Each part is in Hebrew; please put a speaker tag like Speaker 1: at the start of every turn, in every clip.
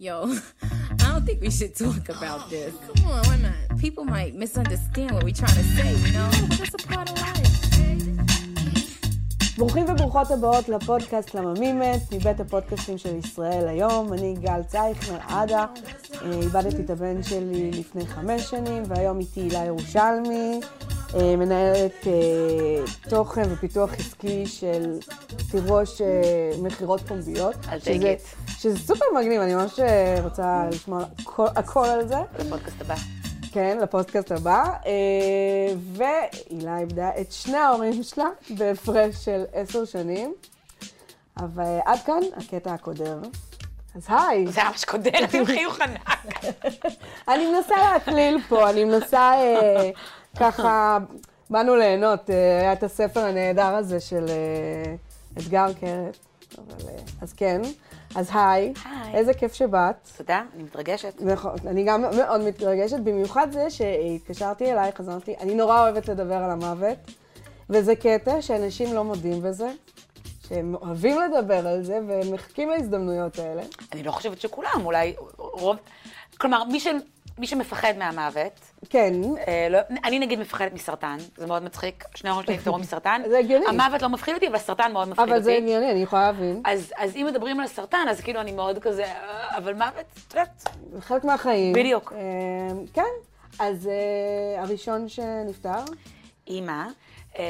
Speaker 1: Yo, I don't think we should talk about this.
Speaker 2: Come on, why not?
Speaker 1: People might misunderstand what we're trying to say, you know? That's a part of life.
Speaker 3: ברוכים וברוכות הבאות לפודקאסט למה מי מת, מבית הפודקאסטים של ישראל היום. אני גל צייכנר עדה, אה, איבדתי את הבן שלי לפני חמש שנים, והיום איתי הילה ירושלמי, אה, מנהלת אה, תוכן ופיתוח עסקי של תירוש אה, מכירות פומביות.
Speaker 4: I'll take
Speaker 3: שזה- שזה סופר מגניב, אני ממש אה, רוצה לשמוע כל- הכל על זה.
Speaker 4: לפודקאסט הבא.
Speaker 3: כן, לפודקאסט הבא. אה, והילה איבדה את שני ההורים שלה בהפרש של עשר שנים. אבל אה, עד כאן הקטע הקודם. אז היי,
Speaker 4: זה היה ממש קודרת עם חיוך ענק.
Speaker 3: אני מנסה להקליל פה, אני מנסה אה, ככה, באנו ליהנות, אה, היה את הספר הנהדר הזה של אה, אתגר קרת. אבל, אה, אז כן, אז היי,
Speaker 4: היי.
Speaker 3: איזה כיף שבאת.
Speaker 4: תודה, אני מתרגשת.
Speaker 3: נכון, אני גם מאוד מתרגשת, במיוחד זה שהתקשרתי אלייך, אז אמרתי, אני נורא אוהבת לדבר על המוות, וזה קטע שאנשים לא מודים בזה, שהם אוהבים לדבר על זה, והם מחכים להזדמנויות האלה.
Speaker 4: אני לא חושבת שכולם, אולי רוב... כלומר, מי, ש... מי שמפחד מהמוות,
Speaker 3: כן,
Speaker 4: אה, לא... אני נגיד מפחדת מסרטן, זה מאוד מצחיק, שני ההורים שלי נפטרו מסרטן.
Speaker 3: זה הגיוני.
Speaker 4: המוות לא מפחיד אותי, אבל הסרטן מאוד מפחיד
Speaker 3: אבל
Speaker 4: אותי.
Speaker 3: זה ענייני, אני יכולה להבין.
Speaker 4: אז, אז אם מדברים על סרטן, אז כאילו אני מאוד כזה, "אה, אבל מוות, את יודעת,
Speaker 3: זה חלק מהחיים.
Speaker 4: בדיוק.
Speaker 3: אה, כן, אז אה, הראשון שנפטר,
Speaker 4: אימא, אה,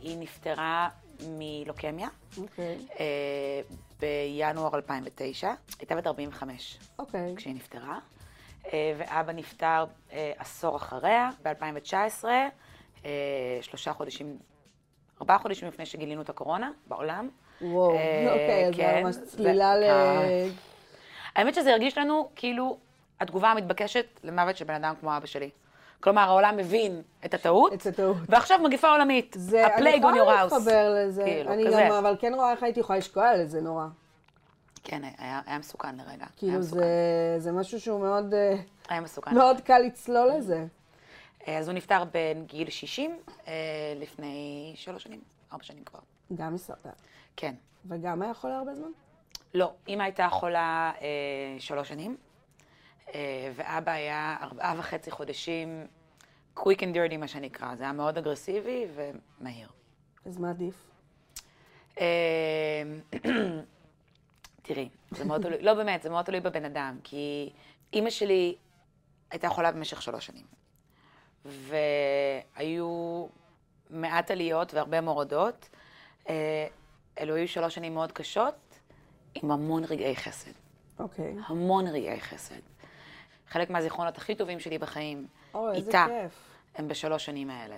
Speaker 4: היא נפטרה מלוקמיה
Speaker 3: אוקיי,
Speaker 4: אה, בינואר 2009, הייתה בת 45.
Speaker 3: אוקיי,
Speaker 4: כשהיא נפטרה, אה, ואבא נפטר אה, עשור אחריה, ב-2019, אה, שלושה חודשים, ארבעה חודשים לפני שגילינו את הקורונה בעולם.
Speaker 3: וואו,
Speaker 4: אה,
Speaker 3: אוקיי, אז
Speaker 4: כן,
Speaker 3: ממש
Speaker 4: זה-
Speaker 3: צלילה ל...
Speaker 4: אה. האמת שזה הרגיש לנו כאילו התגובה המתבקשת למוות של בן אדם כמו אבא שלי. כלומר, העולם מבין את הטעות,
Speaker 3: את הטעות.
Speaker 4: ועכשיו מגפה עולמית,
Speaker 3: זה, אני
Speaker 4: הפלייג און יור
Speaker 3: יכולה
Speaker 4: האוס.
Speaker 3: להתחבר לזה.
Speaker 4: כאילו,
Speaker 3: אני
Speaker 4: כזה.
Speaker 3: גם, אבל כן רואה איך הייתי יכולה לשקוע על זה נורא.
Speaker 4: כן, היה היה מסוכן לרגע. היה
Speaker 3: כאילו,
Speaker 4: מסוכן.
Speaker 3: זה, זה משהו שהוא מאוד, אה,
Speaker 4: היה מסוכן.
Speaker 3: מאוד קל לצלול לזה.
Speaker 4: אה, אז הוא נפטר בין גיל 60 אה, לפני שלוש שנים, ארבע שנים כבר.
Speaker 3: גם מסרטן.
Speaker 4: כן.
Speaker 3: וגם היה חולה הרבה זמן?
Speaker 4: לא, אימא הייתה חולה אה, שלוש שנים, אה, ואבא היה ארבעה וחצי חודשים quick and dirty, מה שנקרא. זה היה מאוד אגרסיבי ומהיר.
Speaker 3: אז מה עדיף?
Speaker 4: אה, תראי, זה מאוד תלוי, לא באמת, זה מאוד תלוי בבן אדם, כי אימא שלי הייתה חולה במשך שלוש שנים, והיו מעט עליות והרבה מורדות. אה, אלו היו שלוש שנים מאוד קשות, עם המון רגעי חסד.
Speaker 3: אוקיי.
Speaker 4: המון רגעי חסד. חלק מהזיכרונות הכי טובים שלי בחיים,
Speaker 3: אוי, איזה
Speaker 4: איתה,
Speaker 3: כיף.
Speaker 4: הם בשלוש שנים האלה.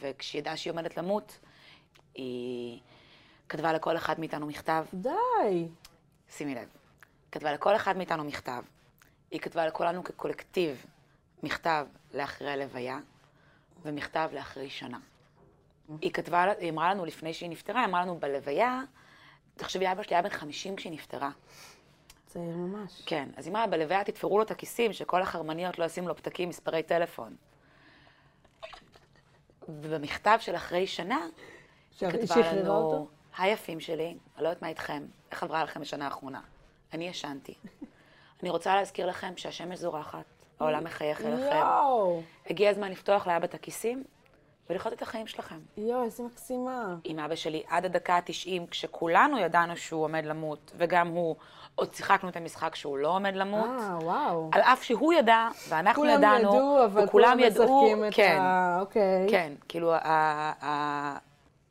Speaker 4: וכשהיא ידעה שהיא עומדת למות, היא כתבה לכל אחד מאיתנו מכתב,
Speaker 3: די.
Speaker 4: שימי לב, כתבה לכל אחד מאיתנו מכתב. היא כתבה לכולנו כקולקטיב מכתב לאחרי הלוויה, ומכתב לאחרי שנה. היא כתבה, היא אמרה לנו לפני שהיא נפטרה, היא אמרה לנו בלוויה, תחשבי, אבא שלי היה בן 50 כשהיא נפטרה.
Speaker 3: צעיר ממש.
Speaker 4: כן, אז היא אמרה, בלוויה תתפרו לו את הכיסים, שכל החרמניות לא ישימו לו פתקים, מספרי טלפון. ובמכתב של אחרי שנה,
Speaker 3: שהיא
Speaker 4: היא כתבה
Speaker 3: שחררה
Speaker 4: לנו,
Speaker 3: כן, אותו?
Speaker 4: היפים שלי, אני לא יודעת מה איתכם, איך עברה לכם השנה האחרונה? אני ישנתי. אני רוצה להזכיר לכם שהשמש זורחת, העולם מחייך אליכם.
Speaker 3: יואו.
Speaker 4: הגיע הזמן לפתוח לאבא את הכיסים ולחיות את החיים שלכם.
Speaker 3: יואו, איזה מקסימה.
Speaker 4: עם אבא שלי עד הדקה ה-90, כשכולנו ידענו שהוא עומד למות, וגם הוא, עוד שיחקנו את המשחק שהוא לא עומד למות.
Speaker 3: אה, וואו.
Speaker 4: על אף שהוא ידע, ואנחנו
Speaker 3: כולם
Speaker 4: ידענו,
Speaker 3: ידעו, אבל
Speaker 4: וכולם
Speaker 3: כולם
Speaker 4: ידעו,
Speaker 3: משחקים את
Speaker 4: כן,
Speaker 3: ה... אוקיי.
Speaker 4: כן, כאילו, ה- ה- ה-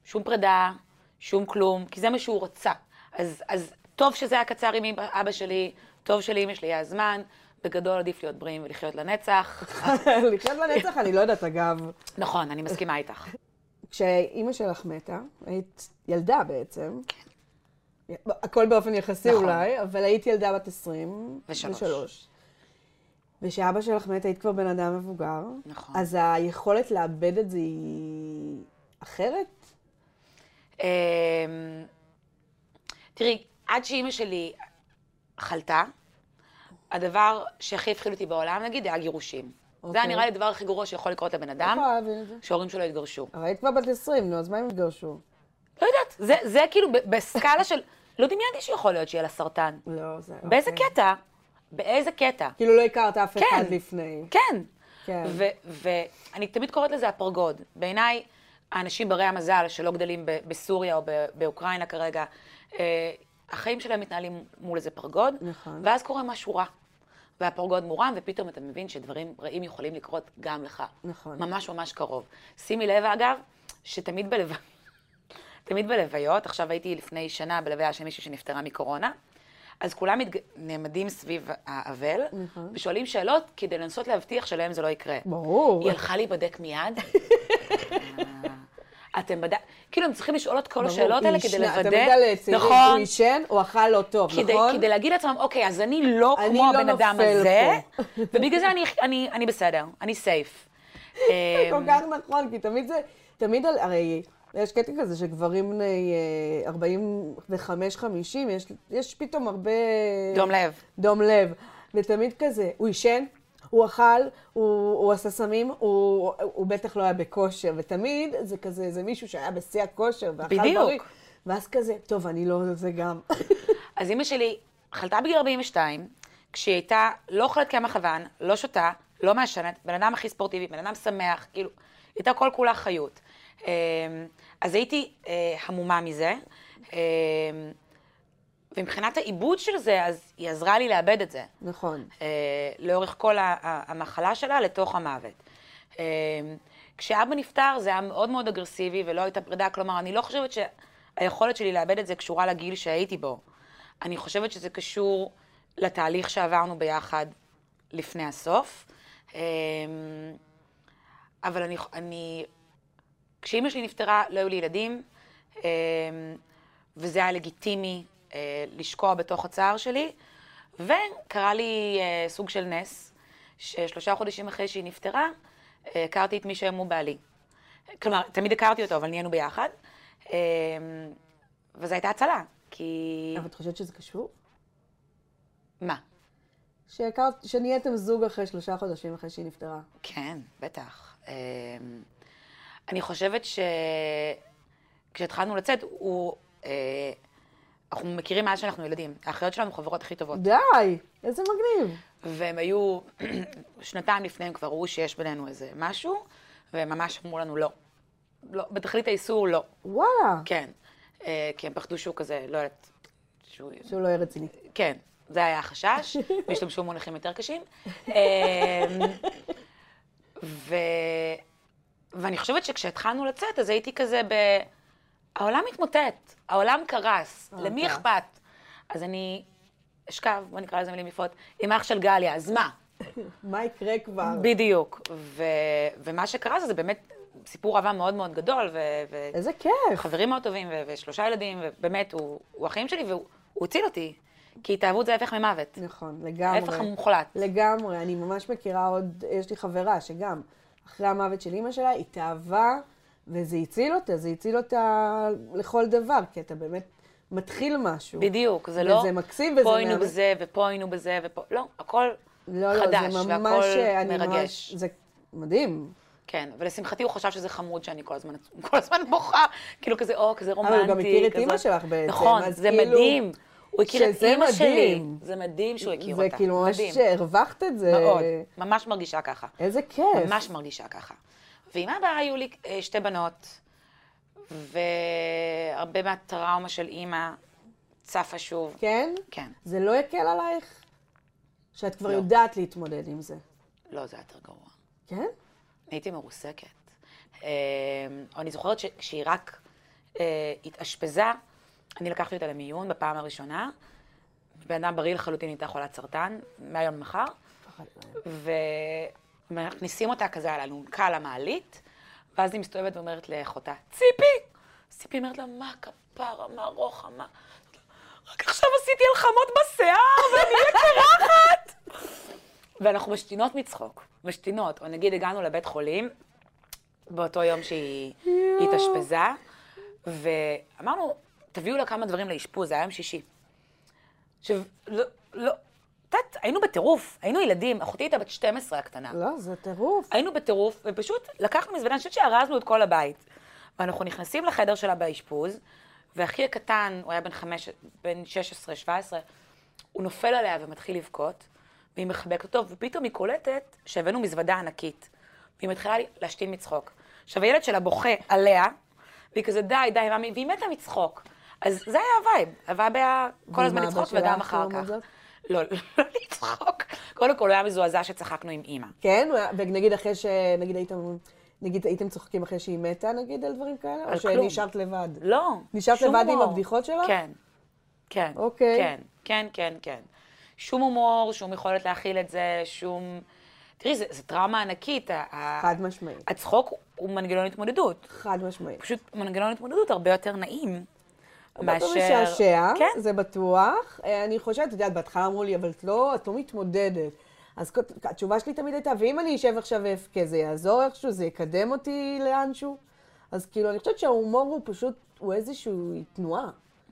Speaker 4: שום פרידה, שום כלום, כי זה מה שהוא רצה. אז, אז טוב שזה היה קצר עם אמא- אבא שלי, טוב שלאמא שלי היה זמן, בגדול עדיף להיות בריאים ולחיות לנצח.
Speaker 3: לחיות לנצח, אני לא יודעת, אגב.
Speaker 4: נכון, אני מסכימה איתך.
Speaker 3: כשאימא שלך מתה, היית ילדה בעצם. הכל באופן יחסי
Speaker 4: כן. נכון.
Speaker 3: אולי, אבל היית ילדה בת 20
Speaker 4: ושלוש.
Speaker 3: ושלוש. ושאבא שלך מת, היית כבר בן אדם מבוגר.
Speaker 4: נכון.
Speaker 3: אז היכולת לאבד את זה היא אחרת?
Speaker 4: אמ, תראי, עד שאימא שלי חלתה, הדבר שהכי הפחיד אותי בעולם, נגיד, היה גירושים. זה היה
Speaker 3: אוקיי. נכון.
Speaker 4: נראה לי הדבר הכי גרוע שיכול לקרות לבן
Speaker 3: אני
Speaker 4: אדם,
Speaker 3: יכולה להבין את זה.
Speaker 4: שההורים שלו יתגרשו.
Speaker 3: אבל היית כבר בת 20, נו, אז מה הם התגרשו?
Speaker 4: לא יודעת, זה, זה כאילו ב- בסקאלה של... לא דמיינתי שיכול להיות שיהיה לה סרטן.
Speaker 3: לא, זה...
Speaker 4: באיזה קטע? באיזה קטע?
Speaker 3: כאילו לא הכרת אף
Speaker 4: כן.
Speaker 3: אחד לפני.
Speaker 4: כן.
Speaker 3: כן.
Speaker 4: ו- ואני תמיד קוראת לזה הפרגוד. בעיניי, האנשים ברי המזל שלא גדלים ב- בסוריה או ב- באוקראינה כרגע, אה, החיים שלהם מתנהלים מול איזה פרגוד,
Speaker 3: נכון.
Speaker 4: ואז קורה משהו רע. והפרגוד מורם, ופתאום אתה מבין שדברים רעים יכולים לקרות גם לך.
Speaker 3: נכון.
Speaker 4: ממש ממש קרוב. שימי לב, אגב, שתמיד בלו... תמיד בלוויות, עכשיו הייתי לפני שנה בלוויה של מישהי שנפטרה מקורונה, אז כולם מתג... נעמדים סביב האבל,
Speaker 3: נכון.
Speaker 4: ושואלים שאלות כדי לנסות להבטיח שלהם זה לא יקרה.
Speaker 3: ברור.
Speaker 4: היא הלכה להיבדק מיד? אה, אתם בדק... כאילו, הם צריכים לשאול את כל
Speaker 3: ברור,
Speaker 4: השאלות האלה
Speaker 3: היא
Speaker 4: כדי
Speaker 3: ישנה- אה,
Speaker 4: לוודא...
Speaker 3: אתה מודע לצעירים, הוא
Speaker 4: נכון.
Speaker 3: עישן, הוא אכל לא טוב,
Speaker 4: כדי,
Speaker 3: נכון?
Speaker 4: כדי להגיד לעצמם, אוקיי, אז אני לא
Speaker 3: אני
Speaker 4: כמו
Speaker 3: לא
Speaker 4: הבן אדם
Speaker 3: נופל
Speaker 4: הזה,
Speaker 3: פה."
Speaker 4: ובגלל זה אני, אני, אני בסדר, אני אמ, סייף.
Speaker 3: כל כך נכון, כי תמיד זה, תמיד, על- הרי יש קטע כזה שגברים בני אה, 45-50, יש- יש פתאום הרבה...
Speaker 4: דום לב.
Speaker 3: דום לב. ותמיד כזה, הוא עישן, הוא אכל, הוא, הוא עשה סמים, הוא, הוא בטח לא היה בכושר, ותמיד זה כזה, זה מישהו שהיה בשיא הכושר ואכל
Speaker 4: בדיוק.
Speaker 3: בריא. ואז כזה, טוב, אני לא זה גם.
Speaker 4: אז אימא שלי חלתה בגיל 42, כשהיא הייתה לא אוכלת קמח לבן, לא שותה, לא מעשנת, בן אדם הכי ספורטיבי, בן אדם שמח, כאילו, היא הייתה כל כולה חיות. אמ, אז הייתי אה, המומה מזה, אמ, ומבחינת העיבוד של זה, אז היא עזרה לי לאבד את זה.
Speaker 3: נכון.
Speaker 4: אה, לאורך כל ה- ה- המחלה שלה לתוך המוות. אה, כשאבא נפטר זה היה מאוד מאוד אגרסיבי ולא הייתה פרידה, כלומר, אני לא חושבת שהיכולת שלי לאבד את זה קשורה לגיל שהייתי בו. אני חושבת שזה קשור לתהליך שעברנו ביחד לפני הסוף. אה, אבל אני, אני כשאימא שלי נפטרה, לא היו לי ילדים, אמ, וזה היה לגיטימי אה, לשקוע בתוך הצער שלי. וקרה לי אה, סוג של נס, ששלושה חודשים אחרי שהיא נפטרה, אה, הכרתי את מי שהיום הוא בעלי. כלומר, תמיד הכרתי אותו, אבל נהיינו ביחד. אמ, וזו הייתה הצלה, כי...
Speaker 3: אבל את חושבת שזה קשור?
Speaker 4: מה?
Speaker 3: שהכרת, שנהייתם זוג אחרי שלושה חודשים אחרי שהיא נפטרה.
Speaker 4: כן, בטח. אמ, אני חושבת ש... כשהתחלנו לצאת, הוא... אה, אנחנו מכירים מאז שאנחנו ילדים. האחיות שלנו חברות הכי טובות.
Speaker 3: די, איזה מגניב.
Speaker 4: והם היו, שנתיים לפני הם כבר ראו שיש בינינו איזה משהו, והם ממש אמרו לנו לא. לא, בתכלית האיסור לא.
Speaker 3: וואלה.
Speaker 4: כן. אה, כי הם פחדו שהוא כזה, לא יודעת, שהוא...
Speaker 3: שהוא לא יהיה רציני.
Speaker 4: כן, זה היה החשש, והשתמשו במונחים יותר קשים. אמ, ו... ואני חושבת שכשהתחלנו לצאת, אז הייתי כזה ב... העולם מתמוטט, העולם קרס,
Speaker 3: העולם
Speaker 4: למי
Speaker 3: קרס.
Speaker 4: אכפת? אז אני אשכב, בוא נקרא לזה מילים יפות, עם אח של גליה, אז מה?
Speaker 3: מה יקרה כבר?
Speaker 4: בדיוק. ו... ומה שקרה זה, זה באמת סיפור אהבה מאוד מאוד גדול, ו... ו...
Speaker 3: איזה כיף.
Speaker 4: חברים מאוד טובים, ו- ושלושה ילדים, ובאמת, הוא, הוא החיים שלי, והוא הוא הציל אותי. כי התאהבות זה ההפך ממוות.
Speaker 3: נכון, לגמרי.
Speaker 4: ההפך המוחלט.
Speaker 3: לגמרי, אני ממש מכירה עוד, יש לי חברה שגם אחרי המוות של אימא שלה, התאהבה, וזה הציל אותה, זה הציל אותה לכל דבר, כי אתה באמת מתחיל משהו.
Speaker 4: בדיוק, זה לא...
Speaker 3: וזה מקסים וזה
Speaker 4: פה היינו
Speaker 3: מהמם.
Speaker 4: בזה, ופה היינו בזה, ופה... לא, הכל
Speaker 3: לא, לא,
Speaker 4: חדש,
Speaker 3: זה ממש,
Speaker 4: והכל
Speaker 3: אני
Speaker 4: מרגש.
Speaker 3: ממש, זה מדהים.
Speaker 4: כן, ולשמחתי הוא חשב שזה חמוד שאני כל הזמן, כל הזמן בוכה, כאילו כזה, או, כזה רומנטי.
Speaker 3: הוא גם הכיר את
Speaker 4: כזה-
Speaker 3: אימא שלך בעצם,
Speaker 4: נכון,
Speaker 3: אז
Speaker 4: זה
Speaker 3: כאילו-
Speaker 4: מדהים. הוא הכיר את
Speaker 3: שזה
Speaker 4: אימא שלי.
Speaker 3: מדהים.
Speaker 4: זה מדהים שהוא הכיר
Speaker 3: זה
Speaker 4: אותה.
Speaker 3: כאילו ממש
Speaker 4: מדהים.
Speaker 3: שהרווחת את זה.
Speaker 4: מאוד, ממש מרגישה ככה.
Speaker 3: איזה כיף.
Speaker 4: ממש מרגישה ככה. ועם אבא היו לי אה, שתי בנות, והרבה מהטראומה של אימא צפה שוב.
Speaker 3: כן?
Speaker 4: כן.
Speaker 3: זה לא יקל עלייך? שאת כבר
Speaker 4: לא.
Speaker 3: יודעת להתמודד עם זה.
Speaker 4: לא, זה היה יותר גרוע.
Speaker 3: כן?
Speaker 4: הייתי מרוסקת. אה, אני זוכרת שכשהיא רק אה, התאשפזה, אני לקחתי אותה למיון בפעם הראשונה. בן אדם בריא לחלוטין הייתה חולת סרטן, מהיום למחר. ומכניסים אותה כזה על אלונקה למעלית, ואז היא מסתובבת ואומרת לאחותה, ציפי! ציפי אומרת לה, מה כפרה, מה רוחב, מה... רק עכשיו עשיתי הלחמות בשיער, ואני אהיה קרחת! ואנחנו משתינות מצחוק, משתינות. או נגיד הגענו לבית חולים, באותו יום שהיא התאשפזה, ואמרנו, תביאו לה כמה דברים לאשפוז, זה היה יום שישי. עכשיו, לא, לא, את יודעת, היינו בטירוף, היינו ילדים, אחותי הייתה בת 12 הקטנה.
Speaker 3: לא, זה טירוף.
Speaker 4: היינו בטירוף, ופשוט לקחנו מזוודה, אני חושבת שארזנו את כל הבית. ואנחנו נכנסים לחדר שלה באשפוז, והאחי הקטן, הוא היה בן, חמש, בן 16-17, הוא נופל עליה ומתחיל לבכות, והיא מחבקת אותו, ופתאום היא קולטת שהבאנו מזוודה ענקית. והיא מתחילה להשתין מצחוק. עכשיו, הילד שלה בוכה עליה, והיא כזה, די, די, מאמי, והיא מתה מצחוק. אז זה היה הווייב, הווייב היה כל הזמן
Speaker 3: ומה אבא
Speaker 4: לצחוק
Speaker 3: שלך
Speaker 4: וגם אחר
Speaker 3: לעומת
Speaker 4: כך.
Speaker 3: זאת?
Speaker 4: לא, לא לצחוק. קודם כל, הוא היה מזועזע שצחקנו עם אימא.
Speaker 3: כן, ונגיד אחרי ש... נגיד הייתם... נגיד הייתם צוחקים אחרי שהיא מתה, נגיד, על דברים כאלה?
Speaker 4: על
Speaker 3: או
Speaker 4: כלום.
Speaker 3: שנשארת לבד?
Speaker 4: לא.
Speaker 3: נשארת
Speaker 4: שום
Speaker 3: לבד עם
Speaker 4: הומור.
Speaker 3: הבדיחות שלך?
Speaker 4: כן. כן.
Speaker 3: אוקיי.
Speaker 4: כן, כן, כן, כן. שום הומור, שום יכולת להכיל את זה, שום... תראי, זו טראומה ענקית. ה- ה-
Speaker 3: חד משמעית.
Speaker 4: הצחוק הוא מנגנון התמודדות.
Speaker 3: חד משמעית.
Speaker 4: פשוט מנגנון התמודדות הרבה יותר נעים
Speaker 3: מאשר...
Speaker 4: מאשר...
Speaker 3: לא משעשע,
Speaker 4: כן,
Speaker 3: זה בטוח. אה, אני חושבת, את יודעת, בהתחלה אמרו לי, אבל את לא, את לא מתמודדת. אז כות- התשובה שלי תמיד הייתה, ואם אני אשב עכשיו ואבכה, זה יעזור איכשהו, זה יקדם אותי לאנשהו? אז כאילו, אני חושבת שההומור הוא פשוט, הוא איזושהי תנועה.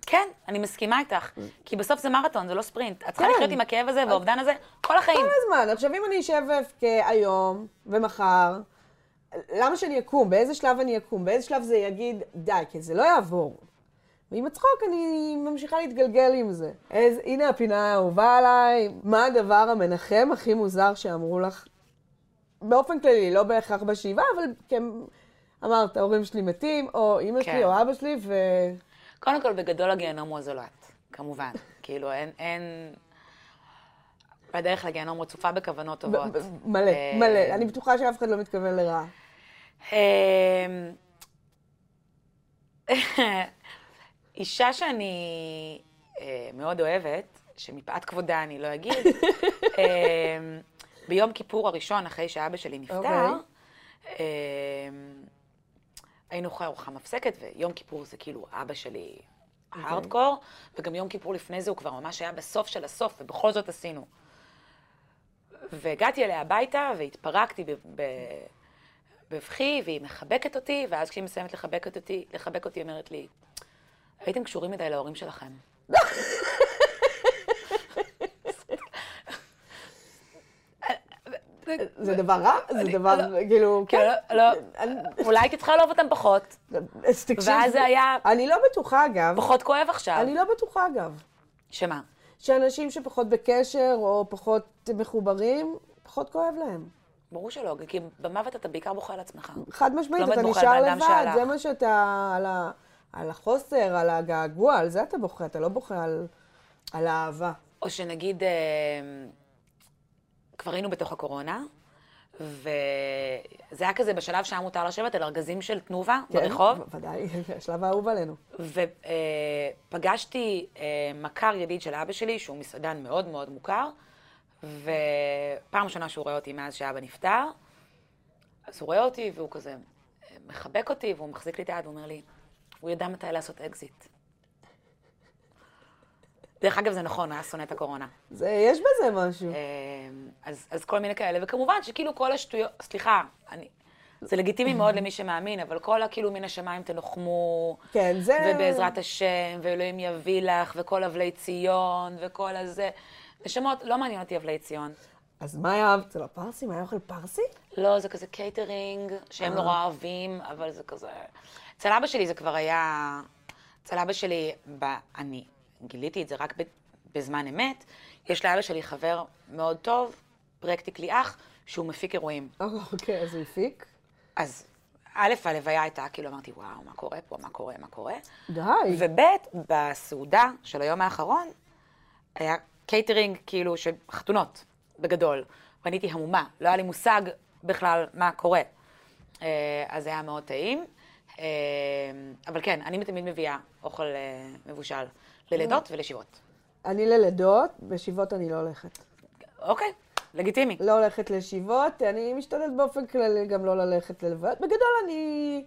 Speaker 4: כן, אני מסכימה איתך. כי בסוף זה מרתון, זה לא ספרינט. את צריכה
Speaker 3: כן.
Speaker 4: לחיות עם הכאב הזה והאובדן הזה כל החיים.
Speaker 3: כל הזמן. עכשיו, אם אני אשב ואבכה היום ומחר, למה שאני אקום? באיזה שלב אני אקום? באיזה שלב זה יגיד, די, כי זה לא יעבור. ועם הצחוק אני ממשיכה להתגלגל עם זה. אז הנה הפינה האהובה עליי. מה הדבר המנחם הכי מוזר שאמרו לך? באופן כללי, לא בהכרח בשבעה, אבל כם... אמרת, ההורים שלי מתים, או אימא
Speaker 4: כן.
Speaker 3: שלי או אבא שלי, ו...
Speaker 4: קודם כל, בגדול הגיהנום הוא הזולת, כמובן. כאילו, אין... אין... הדרך לגיהנום רצופה בכוונות
Speaker 3: ב-
Speaker 4: טובות.
Speaker 3: ב- מלא,
Speaker 4: אה,
Speaker 3: מלא. אני בטוחה שאף אחד לא מתכוון לרעה.
Speaker 4: אמ, אה, אישה שאני אה, מאוד אוהבת, שמפאת כבודה אני לא אגיד, אה, ביום כיפור הראשון, אחרי שאבא שלי נפטר,
Speaker 3: אוקיי.
Speaker 4: אה, היינו אחרי ארוחה מפסקת, ויום כיפור זה כאילו אבא שלי הארדקור, וגם יום כיפור לפני זה הוא כבר ממש היה בסוף של הסוף, ובכל זאת עשינו. והגעתי אליה הביתה, והתפרקתי ב- ב- בבכי, והיא מחבקת אותי, ואז כשהיא מסיימת לחבק אותי, לחבק אותי, היא אומרת לי, הייתם קשורים מדי להורים שלכם.
Speaker 3: זה דבר רע? זה דבר, כאילו,
Speaker 4: כאילו,
Speaker 3: כן.
Speaker 4: לא, לא,
Speaker 3: אני-
Speaker 4: אולי הייתי צריכה לאהוב אותם פחות,
Speaker 3: אז תקשיב.
Speaker 4: ואז זה היה-
Speaker 3: אני לא בטוחה, אגב.
Speaker 4: פחות כואב עכשיו.
Speaker 3: אני לא בטוחה, אגב.
Speaker 4: שמה?
Speaker 3: שאנשים שפחות בקשר או פחות מחוברים, פחות כואב להם.
Speaker 4: ברור שלא, כי במוות אתה בעיקר בוכה על עצמך.
Speaker 3: חד משמעית,
Speaker 4: לא
Speaker 3: אתה
Speaker 4: בטוחה,
Speaker 3: נשאר
Speaker 4: בן אדם
Speaker 3: לבד,
Speaker 4: שהלך.
Speaker 3: זה מה שאתה... על ה- על החוסר, על הגעגוע, על זה אתה בוכה, אתה לא בוכה על- על האהבה.
Speaker 4: או שנגיד, אה, כבר היינו בתוך הקורונה, וזה היה כזה בשלב שהיה מותר לשבת על ארגזים של תנובה ברחוב,
Speaker 3: כן, ודאי, השלב האהוב עלינו.
Speaker 4: ופגשתי אה, מכר ידיד של אבא שלי, שהוא מסעדן מאוד מאוד מוכר, ופעם ראשונה שהוא רואה אותי מאז שאבא נפטר, אז הוא רואה אותי והוא כזה אה, מחבק אותי, והוא מחזיק לי את היד, הוא אומר לי, הוא ידע מתי לעשות אקזיט. דרך אגב, זה נכון, הוא היה שונא את הקורונה.
Speaker 3: זה, יש בזה משהו.
Speaker 4: אמ, אז, אז כל מיני כאלה, וכמובן שכאילו כל השטויות, סליחה, אני, זה לגיטימי מאוד למי שמאמין, אבל כל הכאילו מן השמיים תנוחמו,
Speaker 3: כן, זה-
Speaker 4: ובעזרת השם, ואלוהים יביא לך, וכל אבלי ציון, וכל הזה. נשמות, לא מעניין אותי אבלי ציון.
Speaker 3: אז מה היה אצל הפרסים? היה אוכל פרסי?
Speaker 4: לא, זה כזה קייטרינג, שהם נורא אוהבים, אבל זה כזה... אצל אבא שלי זה כבר היה... אצל אבא שלי, ב... אני גיליתי את זה רק ב... בזמן אמת, יש לאבא שלי חבר מאוד טוב, פרקטיקלי אח, שהוא מפיק אירועים.
Speaker 3: אה, אוקיי, אז הוא הפיק.
Speaker 4: אז א', הלוויה הייתה, כאילו אמרתי, וואו, מה קורה פה, מה קורה, מה קורה?
Speaker 3: די.
Speaker 4: וב', בסעודה של היום האחרון, היה קייטרינג, כאילו, של חתונות, בגדול. ואני הייתי המומה, לא היה לי מושג בכלל מה קורה. אה, אז זה היה מאוד טעים. אה, אבל כן, אני תמיד מביאה אוכל אה, מבושל
Speaker 3: כן.
Speaker 4: ללידות ולשבעות.
Speaker 3: אני ללידות, בשבעות אני לא הולכת.
Speaker 4: אוקיי, לגיטימי.
Speaker 3: לא הולכת לישיבות, אני משתדלת באופן כללי גם לא ללכת ללוויות. בגדול אני...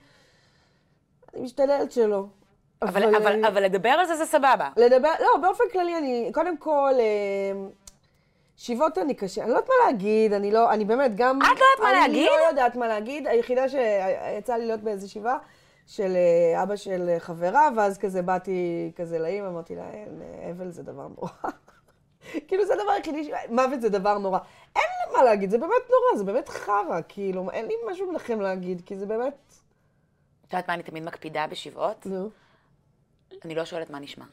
Speaker 3: אני משתדלת שלא.
Speaker 4: אבל, אבל,
Speaker 3: אה,
Speaker 4: אבל לדבר על זה זה סבבה.
Speaker 3: לדבר, לא, באופן כללי אני, קודם כל, אה, שיבות אני קשה, אני לא יודעת מה להגיד, אני לא, אני באמת גם...
Speaker 4: את לא יודעת מה
Speaker 3: אני
Speaker 4: להגיד?
Speaker 3: לא יודעת מה להגיד, היחידה שיצא לי להיות באיזו שבעה של אה, אבא של אה, חברה, ואז כזה באתי כזה לאימא, אמרתי לה, אין, אה, אבל זה דבר נורא. כאילו זה הדבר היחידי, ש- מוות זה דבר נורא. אין לי מה להגיד, זה באמת נורא, זה באמת חרא, כאילו, אין לי משהו לכם להגיד, כי זה באמת...
Speaker 4: את יודעת מה אני תמיד מקפידה בשבעות?
Speaker 3: נו.
Speaker 4: אני לא שואלת מה נשמע.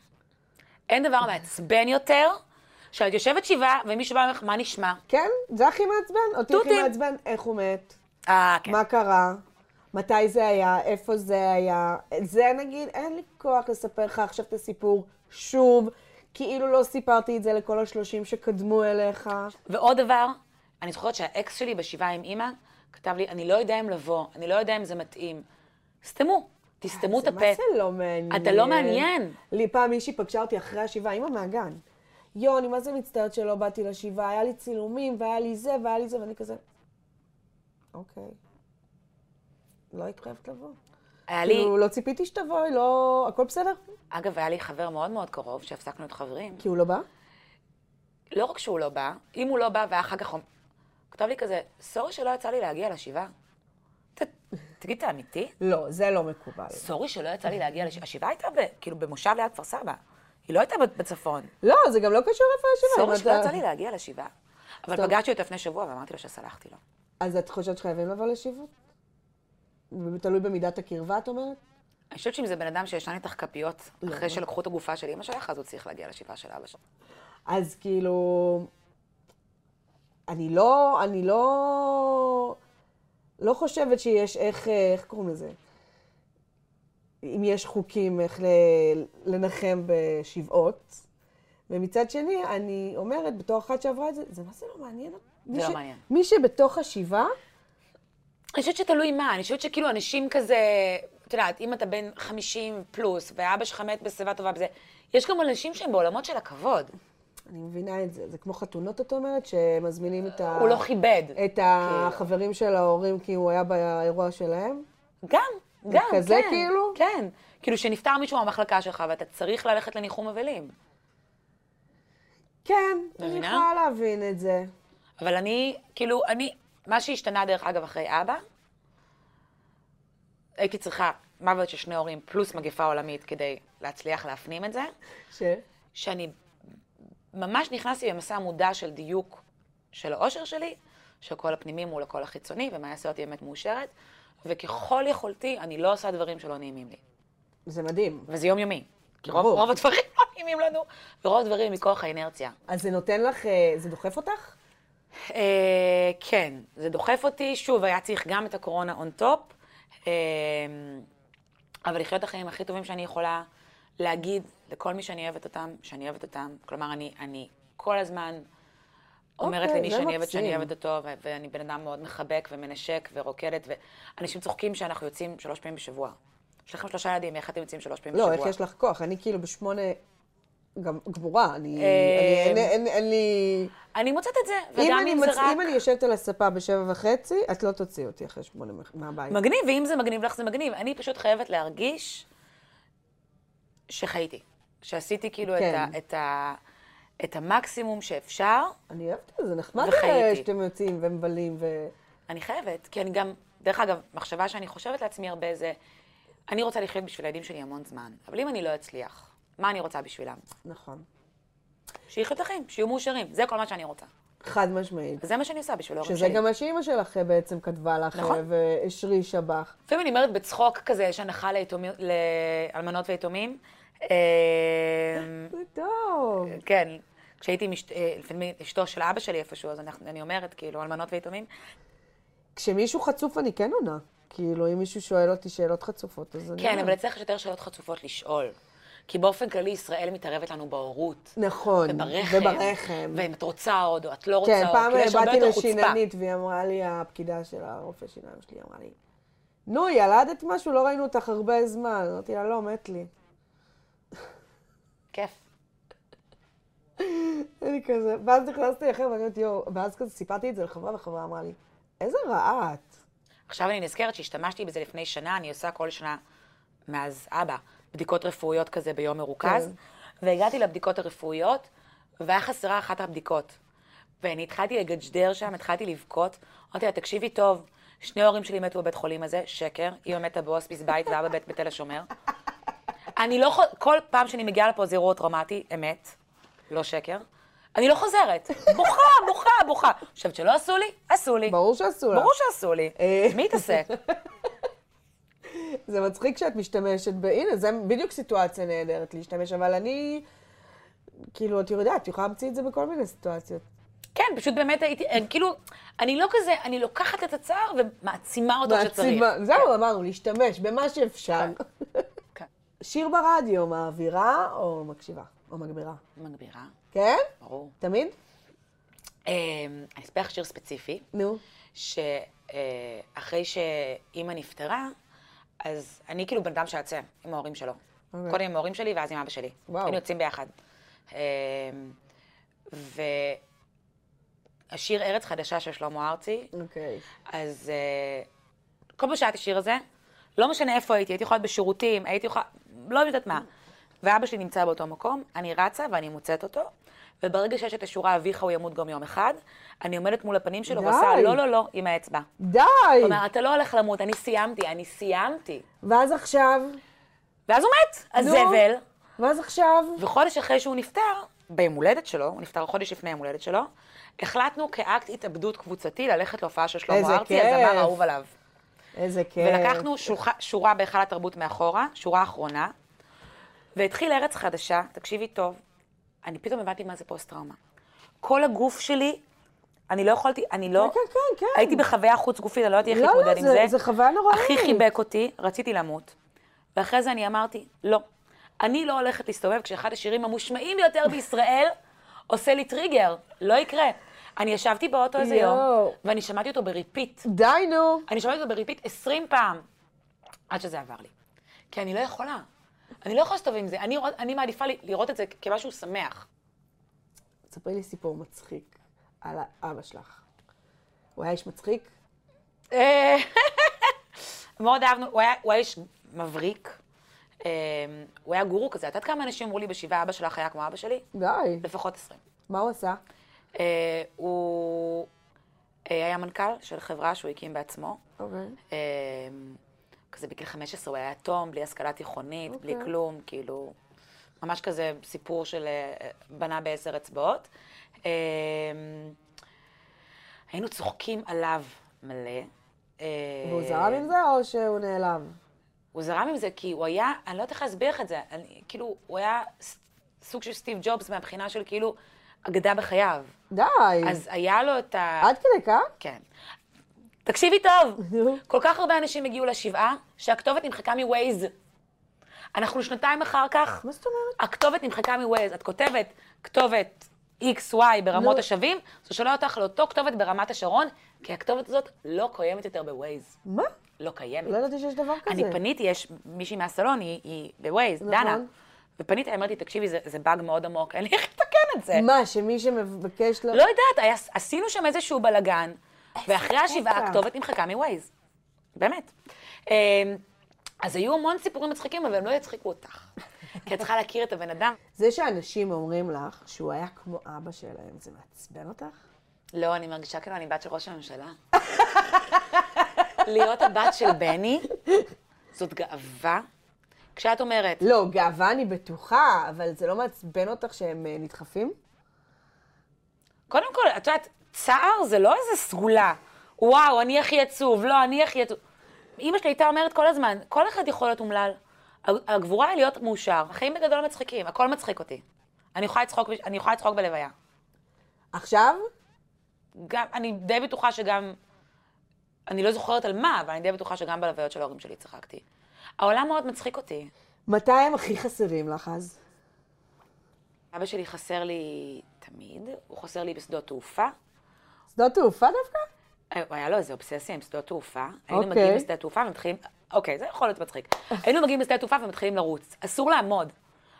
Speaker 4: אין דבר מעצבן יותר שאת יושבת שבעה, ומישהו בא ואומר לך, מה נשמע?
Speaker 3: כן, זה הכי מעצבן. אותי הכי
Speaker 4: תותים.
Speaker 3: מעצבן, איך הוא מת,
Speaker 4: אה, כן.
Speaker 3: מה קרה, מתי זה היה, איפה זה היה. זה נגיד, אין לי כוח לספר לך עכשיו את הסיפור שוב, כאילו לא סיפרתי את זה לכל השלושים שקדמו אליך.
Speaker 4: ועוד דבר, אני זוכרת שהאקס שלי בשבעה עם אימא, כתב לי, אני לא יודע אם לבוא, אני לא יודע אם זה מתאים. סתמו, תסתמו את
Speaker 3: זה
Speaker 4: הפה.
Speaker 3: מה זה לא מעניין?
Speaker 4: אתה לא מעניין.
Speaker 3: לי פעם מישהי פגשה אותי אחרי השבעה, אימא מהגן. יו, אני מה זה מצטערת שלא באתי לשבעה, היה לי צילומים, והיה לי זה, והיה לי זה, ואני כזה... אוקיי. לא היית חייבת לבוא.
Speaker 4: היה לי,
Speaker 3: כאילו, לא ציפיתי שתבואי, לא... הכל בסדר?
Speaker 4: אגב, היה לי חבר מאוד מאוד קרוב, שהפסקנו להיות חברים.
Speaker 3: כי הוא לא בא?
Speaker 4: לא רק שהוא לא בא, אם הוא לא בא ואחר כך הוא כתב לי כזה, סורי שלא יצא לי להגיע לשבעה. ת- תגיד, אתה אמיתי?
Speaker 3: לא, זה לא מקובל.
Speaker 4: סורי שלא יצא לי להגיע לשבעה. השבעה הייתה ב- כאילו במושב ליד כפר סבא. היא לא הייתה ב- בצפון.
Speaker 3: לא, זה גם לא קשור איפה השבעה.
Speaker 4: סורי
Speaker 3: אם
Speaker 4: שלא
Speaker 3: אתה-
Speaker 4: יצא לי להגיע לשבעה. אבל
Speaker 3: טוב.
Speaker 4: פגשתי אותו לפני שבוע ואמרתי לו שסלחתי לו.
Speaker 3: אז את חושבת שחייבים לבוא לשבעות? תלוי במידת הקרבה, את אומרת?
Speaker 4: אני חושבת שאם זה בן אדם שישן איתך כפיות, אחרי שלקחו את הגופה של אמא שלך, אז הוא צריך להגיע לשבעה של אבא שלך.
Speaker 3: אז כאילו, אני לא, אני לא, לא חושבת שיש איך, אה, איך קוראים לזה? אם יש חוקים איך ל- לנחם בשבעות. ומצד שני, אני אומרת, בתור אחת שעברה את זה, זה מה זה לא מעניין? מי
Speaker 4: לא
Speaker 3: ש-
Speaker 4: מעניין.
Speaker 3: מי שבתוך השבעה,
Speaker 4: אני חושבת שתלוי מה, אני חושבת שכאילו אנשים כזה, את יודעת, אם אתה בן 50 פלוס, ואבא שלך מת בשיבה טובה וזה, יש גם אנשים שהם בעולמות של הכבוד.
Speaker 3: אני מבינה את זה. זה כמו חתונות, את אומרת, שמזמינים את, ה...
Speaker 4: הוא לא כיבד.
Speaker 3: את החברים של ההורים כי הוא היה באירוע שלהם.
Speaker 4: גם, גם, כן.
Speaker 3: כזה כאילו?
Speaker 4: כן. כאילו שנפטר מישהו מהמחלקה שלך ואתה צריך ללכת לניחום אבלים.
Speaker 3: כן, אני
Speaker 4: מבינה?
Speaker 3: יכולה להבין את זה.
Speaker 4: אבל אני, כאילו, אני, מה שהשתנה דרך אגב אחרי אבא, הייתי צריכה מוות של שני הורים פלוס מגפה עולמית כדי להצליח להפנים את זה,
Speaker 3: ש?
Speaker 4: שאני ממש נכנסתי במסע מודע של דיוק של האושר שלי, של כל הפנימי מול הקול החיצוני, ומה יעשה אותי באמת מאושרת, וככל יכולתי אני לא עושה דברים שלא נעימים לי.
Speaker 3: זה מדהים.
Speaker 4: וזה יומיומי. כי רוב,
Speaker 3: ברור.
Speaker 4: רוב הדברים לא נעימים לנו, ורוב הדברים מכוח האינרציה.
Speaker 3: אז זה נותן לך, אה, זה דוחף אותך?
Speaker 4: אה, כן, זה דוחף אותי. שוב, היה צריך גם את הקורונה און טופ, אה, אבל לחיות את החיים הכי טובים שאני יכולה להגיד לכל מי שאני אוהבת אותם, שאני אוהבת אותם. כלומר, אני, אני כל הזמן אומרת
Speaker 3: אוקיי,
Speaker 4: למי
Speaker 3: זה
Speaker 4: שאני אוהבת שאני
Speaker 3: מקסים.
Speaker 4: אוהבת אותו, ו- ואני בן אדם מאוד מחבק ומנשק ורוקדת, ואנשים צוחקים שאנחנו יוצאים שלוש פעמים בשבוע. יש לכם שלושה ילדים, איך אתם יוצאים שלוש פעמים
Speaker 3: לא,
Speaker 4: בשבוע?
Speaker 3: איך יש לך כוח? אני כאילו בשמונה גם גבורה, אני... אני-
Speaker 4: אה,
Speaker 3: אין- אין- אין לי...
Speaker 4: אני מוצאת את זה,
Speaker 3: אם
Speaker 4: וגם
Speaker 3: אני
Speaker 4: אם זה
Speaker 3: מצ-
Speaker 4: רק...
Speaker 3: אם אני יושבת על הספה בשבע וחצי, את לא תוציאי אותי אחרי שמונה מח- מהבית.
Speaker 4: מגניב, ואם זה מגניב לך, זה מגניב. אני פשוט חייבת להרגיש שחייתי. שעשיתי כאילו
Speaker 3: כן.
Speaker 4: את, ה, את, ה, את המקסימום שאפשר.
Speaker 3: אני אוהבת את זה, זה נחמד
Speaker 4: וחייתי.
Speaker 3: אה, שאתם יוצאים ומבלים ו...
Speaker 4: אני חייבת, כי אני גם, דרך אגב, מחשבה שאני חושבת לעצמי הרבה זה, אני רוצה לחיות בשביל הילדים שלי המון זמן, אבל אם אני לא אצליח, מה אני רוצה בשבילם?
Speaker 3: נכון.
Speaker 4: שיחיו את החיים, שיהיו מאושרים, זה כל מה שאני רוצה.
Speaker 3: חד משמעית.
Speaker 4: וזה מה שאני עושה בשביל ההורים
Speaker 3: שזה
Speaker 4: שלי.
Speaker 3: גם מה שאימא שלך אה, בעצם כתבה לך, אה,
Speaker 4: אוקיי. נכון.
Speaker 3: והשרישה בך.
Speaker 4: לפעמים אני אומרת בצחוק כזה, יש הנחה ליתומים- לאלמנות ויתומים. אמ,
Speaker 3: זה טוב.
Speaker 4: כן, כשהייתי עם אשת- אה, לפעמים אשתו של אבא שלי איפשהו, אז אנחנו- אני אומרת, כאילו, אלמנות ויתומים.
Speaker 3: כשמישהו חצוף אני כן עונה. כאילו, אם מישהו שואל אותי שאלות חצופות, אז אני...
Speaker 4: כן,
Speaker 3: עונה.
Speaker 4: אבל צריך יותר שאלות חצופות לשאול. כי באופן כללי, ישראל מתערבת לנו בהורות.
Speaker 3: נכון.
Speaker 4: וברחם.
Speaker 3: וברחם.
Speaker 4: ואם את רוצה עוד, או את לא רוצה
Speaker 3: כן,
Speaker 4: עוד.
Speaker 3: פעם
Speaker 4: כאילו, יש הרבה
Speaker 3: באתי
Speaker 4: יותר חוצפה.
Speaker 3: לשיננית, והיא אמרה לי, הפקידה של הרופא שיניים שלי, היא אמרה לי, נו, ילדת משהו? לא ראינו אותך הרבה זמן. אמרתי לה, לא, מת לי.
Speaker 4: כיף.
Speaker 3: אני כזה, ואז נכנסתי אחרי, ואני אומרת, יואו, ואז כזה סיפרתי את זה לחברה, והחברה אמרה לי, איזה רעה את.
Speaker 4: עכשיו אני נזכרת שהשתמשתי בזה לפני שנה, אני עושה כל שנה מאז אבא, בדיקות רפואיות כזה ביום מרוכז, והגעתי לבדיקות הרפואיות, והיה חסרה אחת הבדיקות. ואני התחלתי לגג'דר שם, התחלתי לבכות, אמרתי לה, תקשיבי טוב, שני ההורים שלי מתו בבית חולים הזה, שקר, אימא מתה בהוספיס בית ואבא בית בתל השומר. אני לא חוזרת, כל פעם שאני מגיעה לפה זה אירוע טראומטי, אמת, לא שקר. אני לא חוזרת, בוכה, בוכה, בוכה. חושבת שלא עשו לי? עשו לי.
Speaker 3: ברור שעשו לך.
Speaker 4: ברור שעשו לי.
Speaker 3: אה.
Speaker 4: מי התעסק?
Speaker 3: זה מצחיק שאת משתמשת ב... הנה, זה בדיוק סיטואציה נהדרת להשתמש, אבל אני כאילו, את יודעת, את יכולה להמציא את זה בכל מיני סיטואציות.
Speaker 4: כן, פשוט באמת הייתי, אה, כאילו, אני לא כזה, אני לוקחת את הצער ומעצימה אותו כשצריך.
Speaker 3: מעצימה- זהו, אמרנו, להשתמש במה שאפשר.
Speaker 4: כן.
Speaker 3: שיר ברדיו, מעבירה או מקשיבה? או מגבירה.
Speaker 4: מגבירה,
Speaker 3: כן?
Speaker 4: ברור.
Speaker 3: תמיד?
Speaker 4: אה, אני אספר לך שיר ספציפי,
Speaker 3: נו.
Speaker 4: שאחרי שאימא נפטרה, אז אני כאילו בן אדם שיוצא עם ההורים שלו.
Speaker 3: אוקיי.
Speaker 4: קודם עם ההורים שלי ואז עם אבא שלי.
Speaker 3: וואו.
Speaker 4: היינו יוצאים ביחד. אה, והשיר ארץ חדשה של שלמה ארצי,
Speaker 3: אוקיי.
Speaker 4: אז אה, כל פעם ששאלתי שיר הזה, לא משנה איפה הייתי, הייתי יכולה להיות בשירותים, הייתי יכולה, לא יודעת מה. ואבא שלי נמצא באותו מקום, אני רצה ואני מוצאת אותו, וברגע שיש את השורה אביך הוא ימות גם יום אחד, אני עומדת מול הפנים שלו
Speaker 3: די.
Speaker 4: ועושה לא, לא, לא, עם האצבע.
Speaker 3: די!
Speaker 4: כלומר, אתה לא הולך למות, אני סיימתי, אני סיימתי.
Speaker 3: ואז עכשיו?
Speaker 4: ואז הוא מת, הזבל.
Speaker 3: ואז עכשיו?
Speaker 4: וחודש אחרי שהוא נפטר, ביום הולדת שלו, הוא נפטר חודש לפני יום הולדת שלו, החלטנו כאקט התאבדות קבוצתי ללכת להופעה של
Speaker 3: איזה
Speaker 4: שלמה ארצי,
Speaker 3: כיף.
Speaker 4: הזמר האהוב עליו.
Speaker 3: איזה כיף.
Speaker 4: ולקחנו שולח, שורה בהיכל התרבות מאחורה, שורה אחרונה, והתחיל ארץ חדשה, תקשיבי טוב, אני פתאום הבנתי מה זה פוסט-טראומה. כל הגוף שלי, אני לא יכולתי, אני לא...
Speaker 3: כן, כן, כן, כן.
Speaker 4: הייתי בחוויה חוץ-גופית, אני לא ידעתי איך
Speaker 3: לא, לא,
Speaker 4: להתמודד עם
Speaker 3: זה-
Speaker 4: זה.
Speaker 3: זה חוויה נוראית.
Speaker 4: הכי חיבק אותי, רציתי למות. ואחרי זה אני אמרתי, לא, אני לא הולכת להסתובב כשאחד השירים המושמעים ביותר בישראל עושה לי טריגר, לא יקרה. אני ישבתי באוטו איזה יום,
Speaker 3: יואו.
Speaker 4: ואני שמעתי אותו בריפיט.
Speaker 3: די, נו.
Speaker 4: אני שומעת אותו בריפיט 20 פעם, עד שזה עבר לי. כי אני לא יכולה. אני לא יכולה להסתובב עם זה. אני, רוא- אני מעדיפה ל- לראות את זה כ- כמשהו שמח.
Speaker 3: תספרי לי סיפור מצחיק על אבא שלך. הוא היה איש מצחיק?
Speaker 4: אה, מאוד אהבנו, הוא היה, הוא היה איש מבריק. אה, הוא היה גורו כזה. את יודעת כמה אנשים אמרו לי בשבעה אבא שלך היה כמו אבא שלי?
Speaker 3: די.
Speaker 4: לפחות 20.
Speaker 3: מה הוא עשה?
Speaker 4: אה, הוא אה, היה מנכ"ל של חברה שהוא הקים בעצמו.
Speaker 3: אוקיי.
Speaker 4: אה, כזה בגיל 15 הוא היה יתום, בלי השכלה תיכונית, okay. בלי
Speaker 3: אוקיי.
Speaker 4: כלום, כאילו, ממש כזה סיפור של אה, בנה בעשר אצבעות. אה, היינו צוחקים עליו מלא. אה,
Speaker 3: והוא זרם עם זה או שהוא נעלם?
Speaker 4: הוא זרם עם זה כי הוא היה, אני לא יודעת איך להסביר לך את זה, אני, כאילו, הוא היה ס- סוג של סטיב ג'ובס מהבחינה של כאילו אגדה בחייו.
Speaker 3: די.
Speaker 4: אז היה לו את ה...
Speaker 3: עד כדי כך?
Speaker 4: כן. תקשיבי טוב,
Speaker 3: נו.
Speaker 4: כל כך הרבה אנשים הגיעו לשבעה, שהכתובת נמחקה מווייז. אנחנו שנתיים אחר כך,
Speaker 3: מה זאת אומרת?
Speaker 4: הכתובת נמחקה מווייז. את כותבת כתובת XY ברמות
Speaker 3: נו.
Speaker 4: השבים, זה שולח אותך לאותו כתובת ברמת השרון, כי הכתובת הזאת לא קיימת יותר בווייז.
Speaker 3: מה?
Speaker 4: לא קיימת.
Speaker 3: לא ידעתי שיש דבר כזה.
Speaker 4: אני פניתי, יש מישהי מהסלון, היא, היא בווייז,
Speaker 3: נכון.
Speaker 4: דנה. ופניתי, אמרתי, תקשיבי, זה, זה באג מאוד עמוק, אין לי איך לתקן את זה.
Speaker 3: מה, שמי שמבקש ל...
Speaker 4: לא יודעת, היה, עשינו שם איזשהו בלאגן, ואחרי השבעה
Speaker 3: קטע.
Speaker 4: הכתובת נמחקה מווייז. באמת. אמ, אז היו המון סיפורים מצחיקים, אבל הם לא יצחיקו אותך. כי את צריכה להכיר את הבן אדם.
Speaker 3: זה שאנשים אומרים לך שהוא היה כמו אבא שלהם, זה מעצבן אותך?
Speaker 4: לא, אני מרגישה כאילו אני בת של ראש הממשלה. להיות הבת של בני, זאת גאווה. כשאת אומרת,
Speaker 3: לא, גאווה אני בטוחה, אבל זה לא מעצבן אותך שהם אה, נדחפים?
Speaker 4: קודם כל, את יודעת, צער זה לא איזה סגולה. וואו, אני הכי עצוב, לא, אני הכי עצוב. אימא שלי הייתה אומרת כל הזמן, כל אחד יכול להיות אומלל. הגבורה היא להיות מאושר. החיים בגדול מצחיקים, הכל מצחיק אותי. אני יכולה לצחוק, בש- אני יכולה לצחוק בלוויה.
Speaker 3: עכשיו?
Speaker 4: גם, אני די בטוחה שגם, אני לא זוכרת על מה, אבל אני די בטוחה שגם בלוויות של ההורים שלי צחקתי. העולם מאוד מצחיק אותי.
Speaker 3: מתי הם הכי חסרים לך אז?
Speaker 4: אבא שלי חסר לי תמיד, הוא חסר לי בשדות תעופה.
Speaker 3: שדות תעופה דווקא?
Speaker 4: היה לו אה, איזה אובססיה עם שדות תעופה.
Speaker 3: אוקיי.
Speaker 4: היינו מגיעים לשדה תעופה ומתחילים... אוקיי, זה יכול להיות מצחיק. היינו מגיעים לשדה תעופה ומתחילים לרוץ. אסור לעמוד.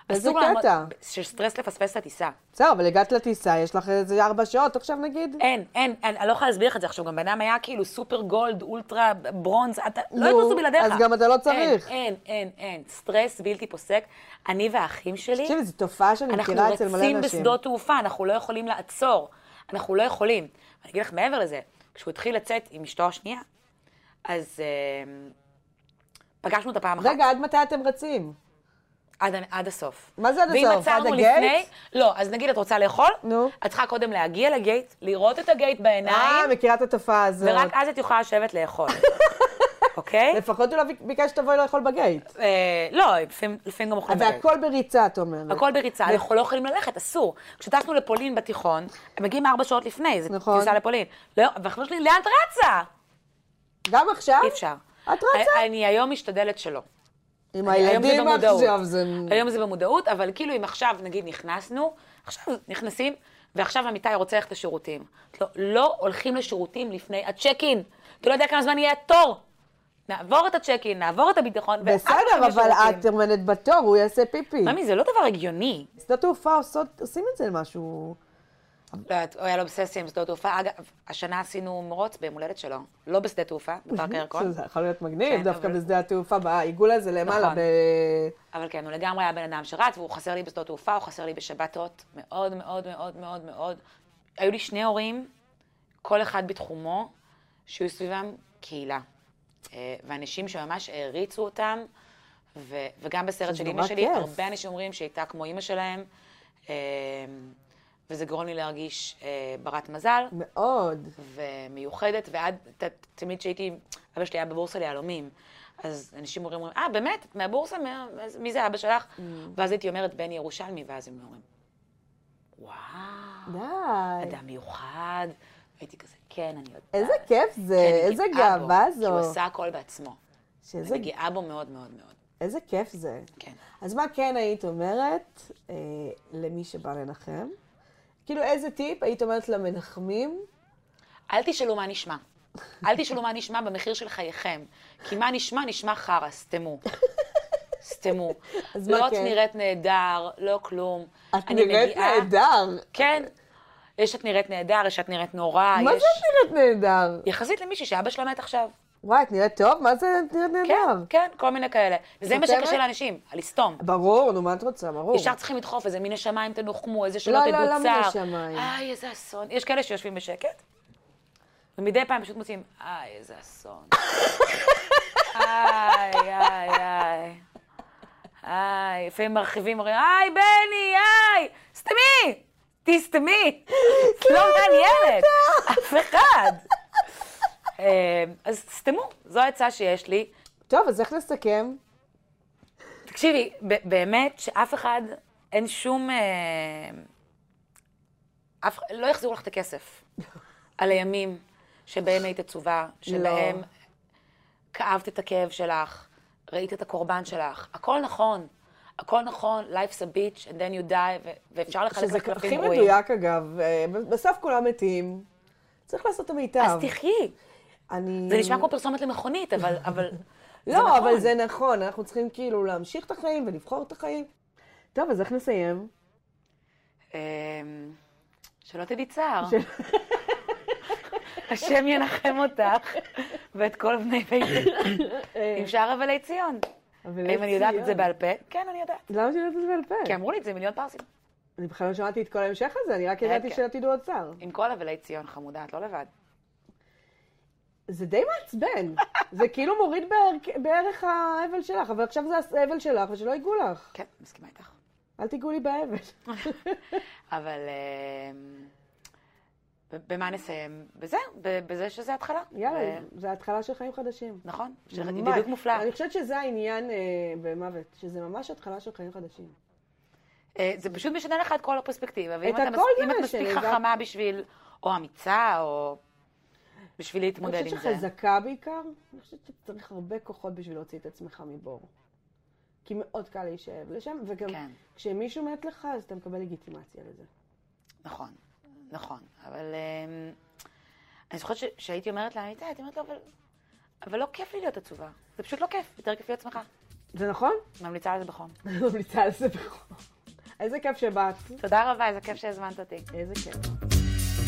Speaker 3: איזה
Speaker 4: אסור
Speaker 3: קטע.
Speaker 4: לעמוד. של סטרס לפספס את הטיסה.
Speaker 3: בסדר, אבל הגעת לטיסה, יש לך איזה ארבע שעות עכשיו נגיד?
Speaker 4: אין, אין, אין, אני לא יכולה להסביר לך את זה עכשיו. גם בן אדם היה כאילו סופר גולד, אולטרה, ברונז, אתה
Speaker 3: נו,
Speaker 4: לא יטוסו בלעדיך.
Speaker 3: אז גם אתה לא צריך.
Speaker 4: אין, אין, אין, אין. סטרס בלתי פוסק. אני והאחים שלי,
Speaker 3: תקשיבי, זו תופעה שאני
Speaker 4: אה. אנחנו
Speaker 3: מכירה אצל מלא אנשים.
Speaker 4: רצים בשדות תעופה, אנחנו לא יכולים לעצור. אנחנו לא יכולים. אני אגיד לך מעבר לזה, כשהוא התחיל לצאת עם אשתו השנייה, אז אה, פגשנו אותה פעם אחת.
Speaker 3: רגע, עד מתי אתם רצים?
Speaker 4: עד, עד הסוף.
Speaker 3: מה זה עד
Speaker 4: ואם
Speaker 3: הסוף?
Speaker 4: עצרנו
Speaker 3: עד
Speaker 4: לפני,
Speaker 3: הגייט?
Speaker 4: לא, אז נגיד את רוצה לאכול,
Speaker 3: נו.
Speaker 4: את צריכה קודם להגיע לגייט, לראות את הגייט בעיניים,
Speaker 3: אה, מכירה את התופעה הזאת.
Speaker 4: ורק אז את יכולה לשבת לאכול. אוקיי?
Speaker 3: לפחות הוא לא ביק- ביקש שתבואי לאכול בגייט.
Speaker 4: אה, לא, לפעמים לפעמים גם אוכלים בגלל.
Speaker 3: והכל בריצה, את אומרת.
Speaker 4: הכל בריצה, אנחנו לא יכולים ללכת, אסור. כשטסנו לפולין בתיכון, הם מגיעים ארבע שעות לפני, זה
Speaker 3: נכון.
Speaker 4: טיסה לפולין. לא, והחבר שלי, לאן את רצה?
Speaker 3: גם עכשיו?
Speaker 4: אי אפשר. אה,
Speaker 3: את רצה?
Speaker 4: אני- אני היום משתדלת שלא.
Speaker 3: עם
Speaker 4: היום זה
Speaker 3: הילדים
Speaker 4: במודעות. אה,
Speaker 3: עכשיו זה...
Speaker 4: היום זה במודעות, אבל כאילו אם עכשיו, נגיד, נכנסנו, עכשיו נכנסים, ועכשיו אמיתי רוצה ללכת לשירותים. לא, לא הולכים לשירותים לפני הצ'ק אין. אתה לא יודע כמה זמן יהיה התור. נעבור את הצ'ק אין, נעבור את הביטחון, ואז הולכים
Speaker 3: בסדר, אבל
Speaker 4: לשירותים.
Speaker 3: את עומדת בתור, הוא יעשה פיפי.
Speaker 4: ממי, זה לא דבר הגיוני.
Speaker 3: שדות תעופה עושות- עושים את זה משהו...
Speaker 4: לא יודעת, הוא היה לו אובססיה עם שדות תעופה. אגב, השנה עשינו מרוץ ביום הולדת שלו, לא בשדה תעופה, בפארק הירקון,
Speaker 3: זה יכול להיות מגניב,
Speaker 4: כן,
Speaker 3: דווקא
Speaker 4: אבל-
Speaker 3: בשדה התעופה, בעיגול הזה למעלה.
Speaker 4: נכון.
Speaker 3: ב-
Speaker 4: אבל כן, הוא לגמרי היה בן אדם שרץ, והוא חסר לי בשדות תעופה, הוא חסר לי בשבתות, מאוד מאוד מאוד מאוד מאוד. היו לי שני הורים, כל אחד בתחומו, שהיו סביבם קהילה. אה, ואנשים שממש העריצו אותם, ו- וגם בסרט
Speaker 3: שזה
Speaker 4: של אימא
Speaker 3: נורא
Speaker 4: שלי,
Speaker 3: כיף.
Speaker 4: הרבה אנשים אומרים שהיא הייתה כמו אימא שלהם, אה, וזה גורם לי להרגיש אה, ברת מזל.
Speaker 3: מאוד.
Speaker 4: ומיוחדת, ועד ת, תמיד כשהייתי, אבא שלי היה בבורסה ליהלומים, אז אנשים אומרים, אומרים, אה, באמת? את מהבורסה? מה- אז מי זה אבא שלך?
Speaker 3: Mm.
Speaker 4: ואז הייתי אומרת, בן ירושלמי, ואז הם אומרים, וואו,
Speaker 3: די.
Speaker 4: אדם מיוחד. הייתי כזה, כן, אני יודעת.
Speaker 3: איזה כיף זה,
Speaker 4: כן, אני
Speaker 3: איזה
Speaker 4: גאה בו,
Speaker 3: גאווה
Speaker 4: כי הוא
Speaker 3: זו.
Speaker 4: עשה הכל בעצמו.
Speaker 3: שזה-
Speaker 4: אני גאה בו מאוד מאוד מאוד.
Speaker 3: איזה כיף זה.
Speaker 4: כן.
Speaker 3: אז מה כן היית אומרת אה, למי שבא לנחם? כאילו, איזה טיפ היית אומרת למנחמים?
Speaker 4: אל תשאלו מה נשמע. אל תשאלו מה נשמע במחיר של חייכם. כי מה נשמע, נשמע חרא, סתמו. סתמו.
Speaker 3: אז מה
Speaker 4: לא את
Speaker 3: כן?
Speaker 4: נראית נהדר, לא כלום.
Speaker 3: את
Speaker 4: אני
Speaker 3: נראית
Speaker 4: מגיעה-
Speaker 3: נהדר.
Speaker 4: כן. יש את נראית נהדר, יש את נראית נורא,
Speaker 3: מה
Speaker 4: יש...
Speaker 3: זה את נראית נהדר?
Speaker 4: יחסית למישהי שאבא שלה מת עכשיו.
Speaker 3: וואי, את נראית טוב? מה זה את נראית
Speaker 4: כן,
Speaker 3: נהדר?
Speaker 4: כן, כל מיני כאלה. וזה מה
Speaker 3: חותמת?
Speaker 4: שקשה לאנשים, לסתום.
Speaker 3: ברור, נו, מה את רוצה? ברור.
Speaker 4: ישר צריכים לדחוף איזה מן השמיים תנוחמו, איזה שלא
Speaker 3: לא,
Speaker 4: תדעו
Speaker 3: לא,
Speaker 4: צער.
Speaker 3: לא מן השמיים.
Speaker 4: איי, איזה אסון. יש כאלה שיושבים בשקט, ומדי פעם פשוט מוצאים, איי, איזה אסון. איי, איי, איי. איי, לפעמים מרחיבים, אומרים, איי, בני, איי, סתמי! תסתמי!
Speaker 3: כן,
Speaker 4: את לא מעניינת, אף אחד. אה, אז סתמו, זו העצה שיש לי.
Speaker 3: טוב, אז איך נסכם?
Speaker 4: תקשיבי, ב- באמת שאף אחד, אין שום... אה, אף לא יחזירו לך את הכסף על הימים שבהם היית עצובה,
Speaker 3: לא.
Speaker 4: שבהם כאבת את הכאב שלך, ראית את הקורבן שלך. הכל נכון, הכל נכון, life's a bitch and then you die, ו- ואפשר לחלק
Speaker 3: שזה
Speaker 4: לקלפים
Speaker 3: הכי
Speaker 4: רואים.
Speaker 3: מדויק, אגב. אה, בסוף כולם מתים. צריך לעשות את המיטב.
Speaker 4: אז תחי.
Speaker 3: אני...
Speaker 4: זה נשמע כמו פרסומת למכונית, אבל... אבל
Speaker 3: Mm.
Speaker 4: זה
Speaker 3: לא,
Speaker 4: נכון.
Speaker 3: אבל זה נכון, אנחנו צריכים כאילו להמשיך את החיים ולבחור את החיים. טוב, אז איך נסיים?
Speaker 4: אמ, שלא תדעי צער. השם ינחם אותך ואת כל בני ביתך עם שאר אבלי ציון.
Speaker 3: אבל
Speaker 4: אם אני יודעת את זה בעל פה, כן, אני יודעת.
Speaker 3: למה שאני יודעת את זה בעל
Speaker 4: כי
Speaker 3: פה?
Speaker 4: אמרו לי את זה מיליון פרסים.
Speaker 3: אני בכלל לא שמעתי את כל ההמשך הזה, אני רק
Speaker 4: רגע.
Speaker 3: ידעתי שלא תדעו עוד צער.
Speaker 4: עם כל אבלי ציון, חמודה, את לא לבד.
Speaker 3: זה די מעצבן. זה כאילו מוריד בערך- בערך האבל שלך, אבל עכשיו זה האבל שלך, ושלא ייגעו לך.
Speaker 4: כן, מסכימה איתך.
Speaker 3: אל תיגעו לי באבל.
Speaker 4: אבל אמ, ב- במה נסיים? בזה, ב- בזה שזה התחלה.
Speaker 3: יאללה,
Speaker 4: ו-
Speaker 3: זה ההתחלה של חיים חדשים.
Speaker 4: נכון, של
Speaker 3: ממש.
Speaker 4: ידידות מופלאה.
Speaker 3: אני חושבת שזה העניין אה, במוות, שזה ממש התחלה של חיים חדשים.
Speaker 4: אה, זה פשוט משנה לך את כל הפרספקטיבה. ואם
Speaker 3: את
Speaker 4: אתה
Speaker 3: הכל
Speaker 4: מס-
Speaker 3: זה
Speaker 4: אם את
Speaker 3: משנה,
Speaker 4: מספיק
Speaker 3: זה-
Speaker 4: חכמה בשביל, או אמיצה, או בשביל להתמודד עם
Speaker 3: אני
Speaker 4: זה.
Speaker 3: חושבת שחזקה בעיקר, אני חושבת שצריך הרבה כוחות בשביל להוציא את עצמך מבור. כי מאוד קל להישאב לשם, וגם
Speaker 4: כן.
Speaker 3: כשמישהו מת לך, אז אתה מקבל לגיטימציה לזה.
Speaker 4: נכון, נכון. אבל אמ, אני זוכרת ש- שהייתי אומרת לה, הייתה, הייתי אומרת לה, אבל... אבל לא כיף לי להיות עצובה. זה פשוט לא כיף, יותר כיף להיות שמחה.
Speaker 3: זה נכון?
Speaker 4: ממליצה על זה בחום.
Speaker 3: אני ממליצה על זה בכל. איזה כיף שבאת.
Speaker 4: תודה רבה, איזה כיף שהזמנת אותי.
Speaker 3: איזה כיף.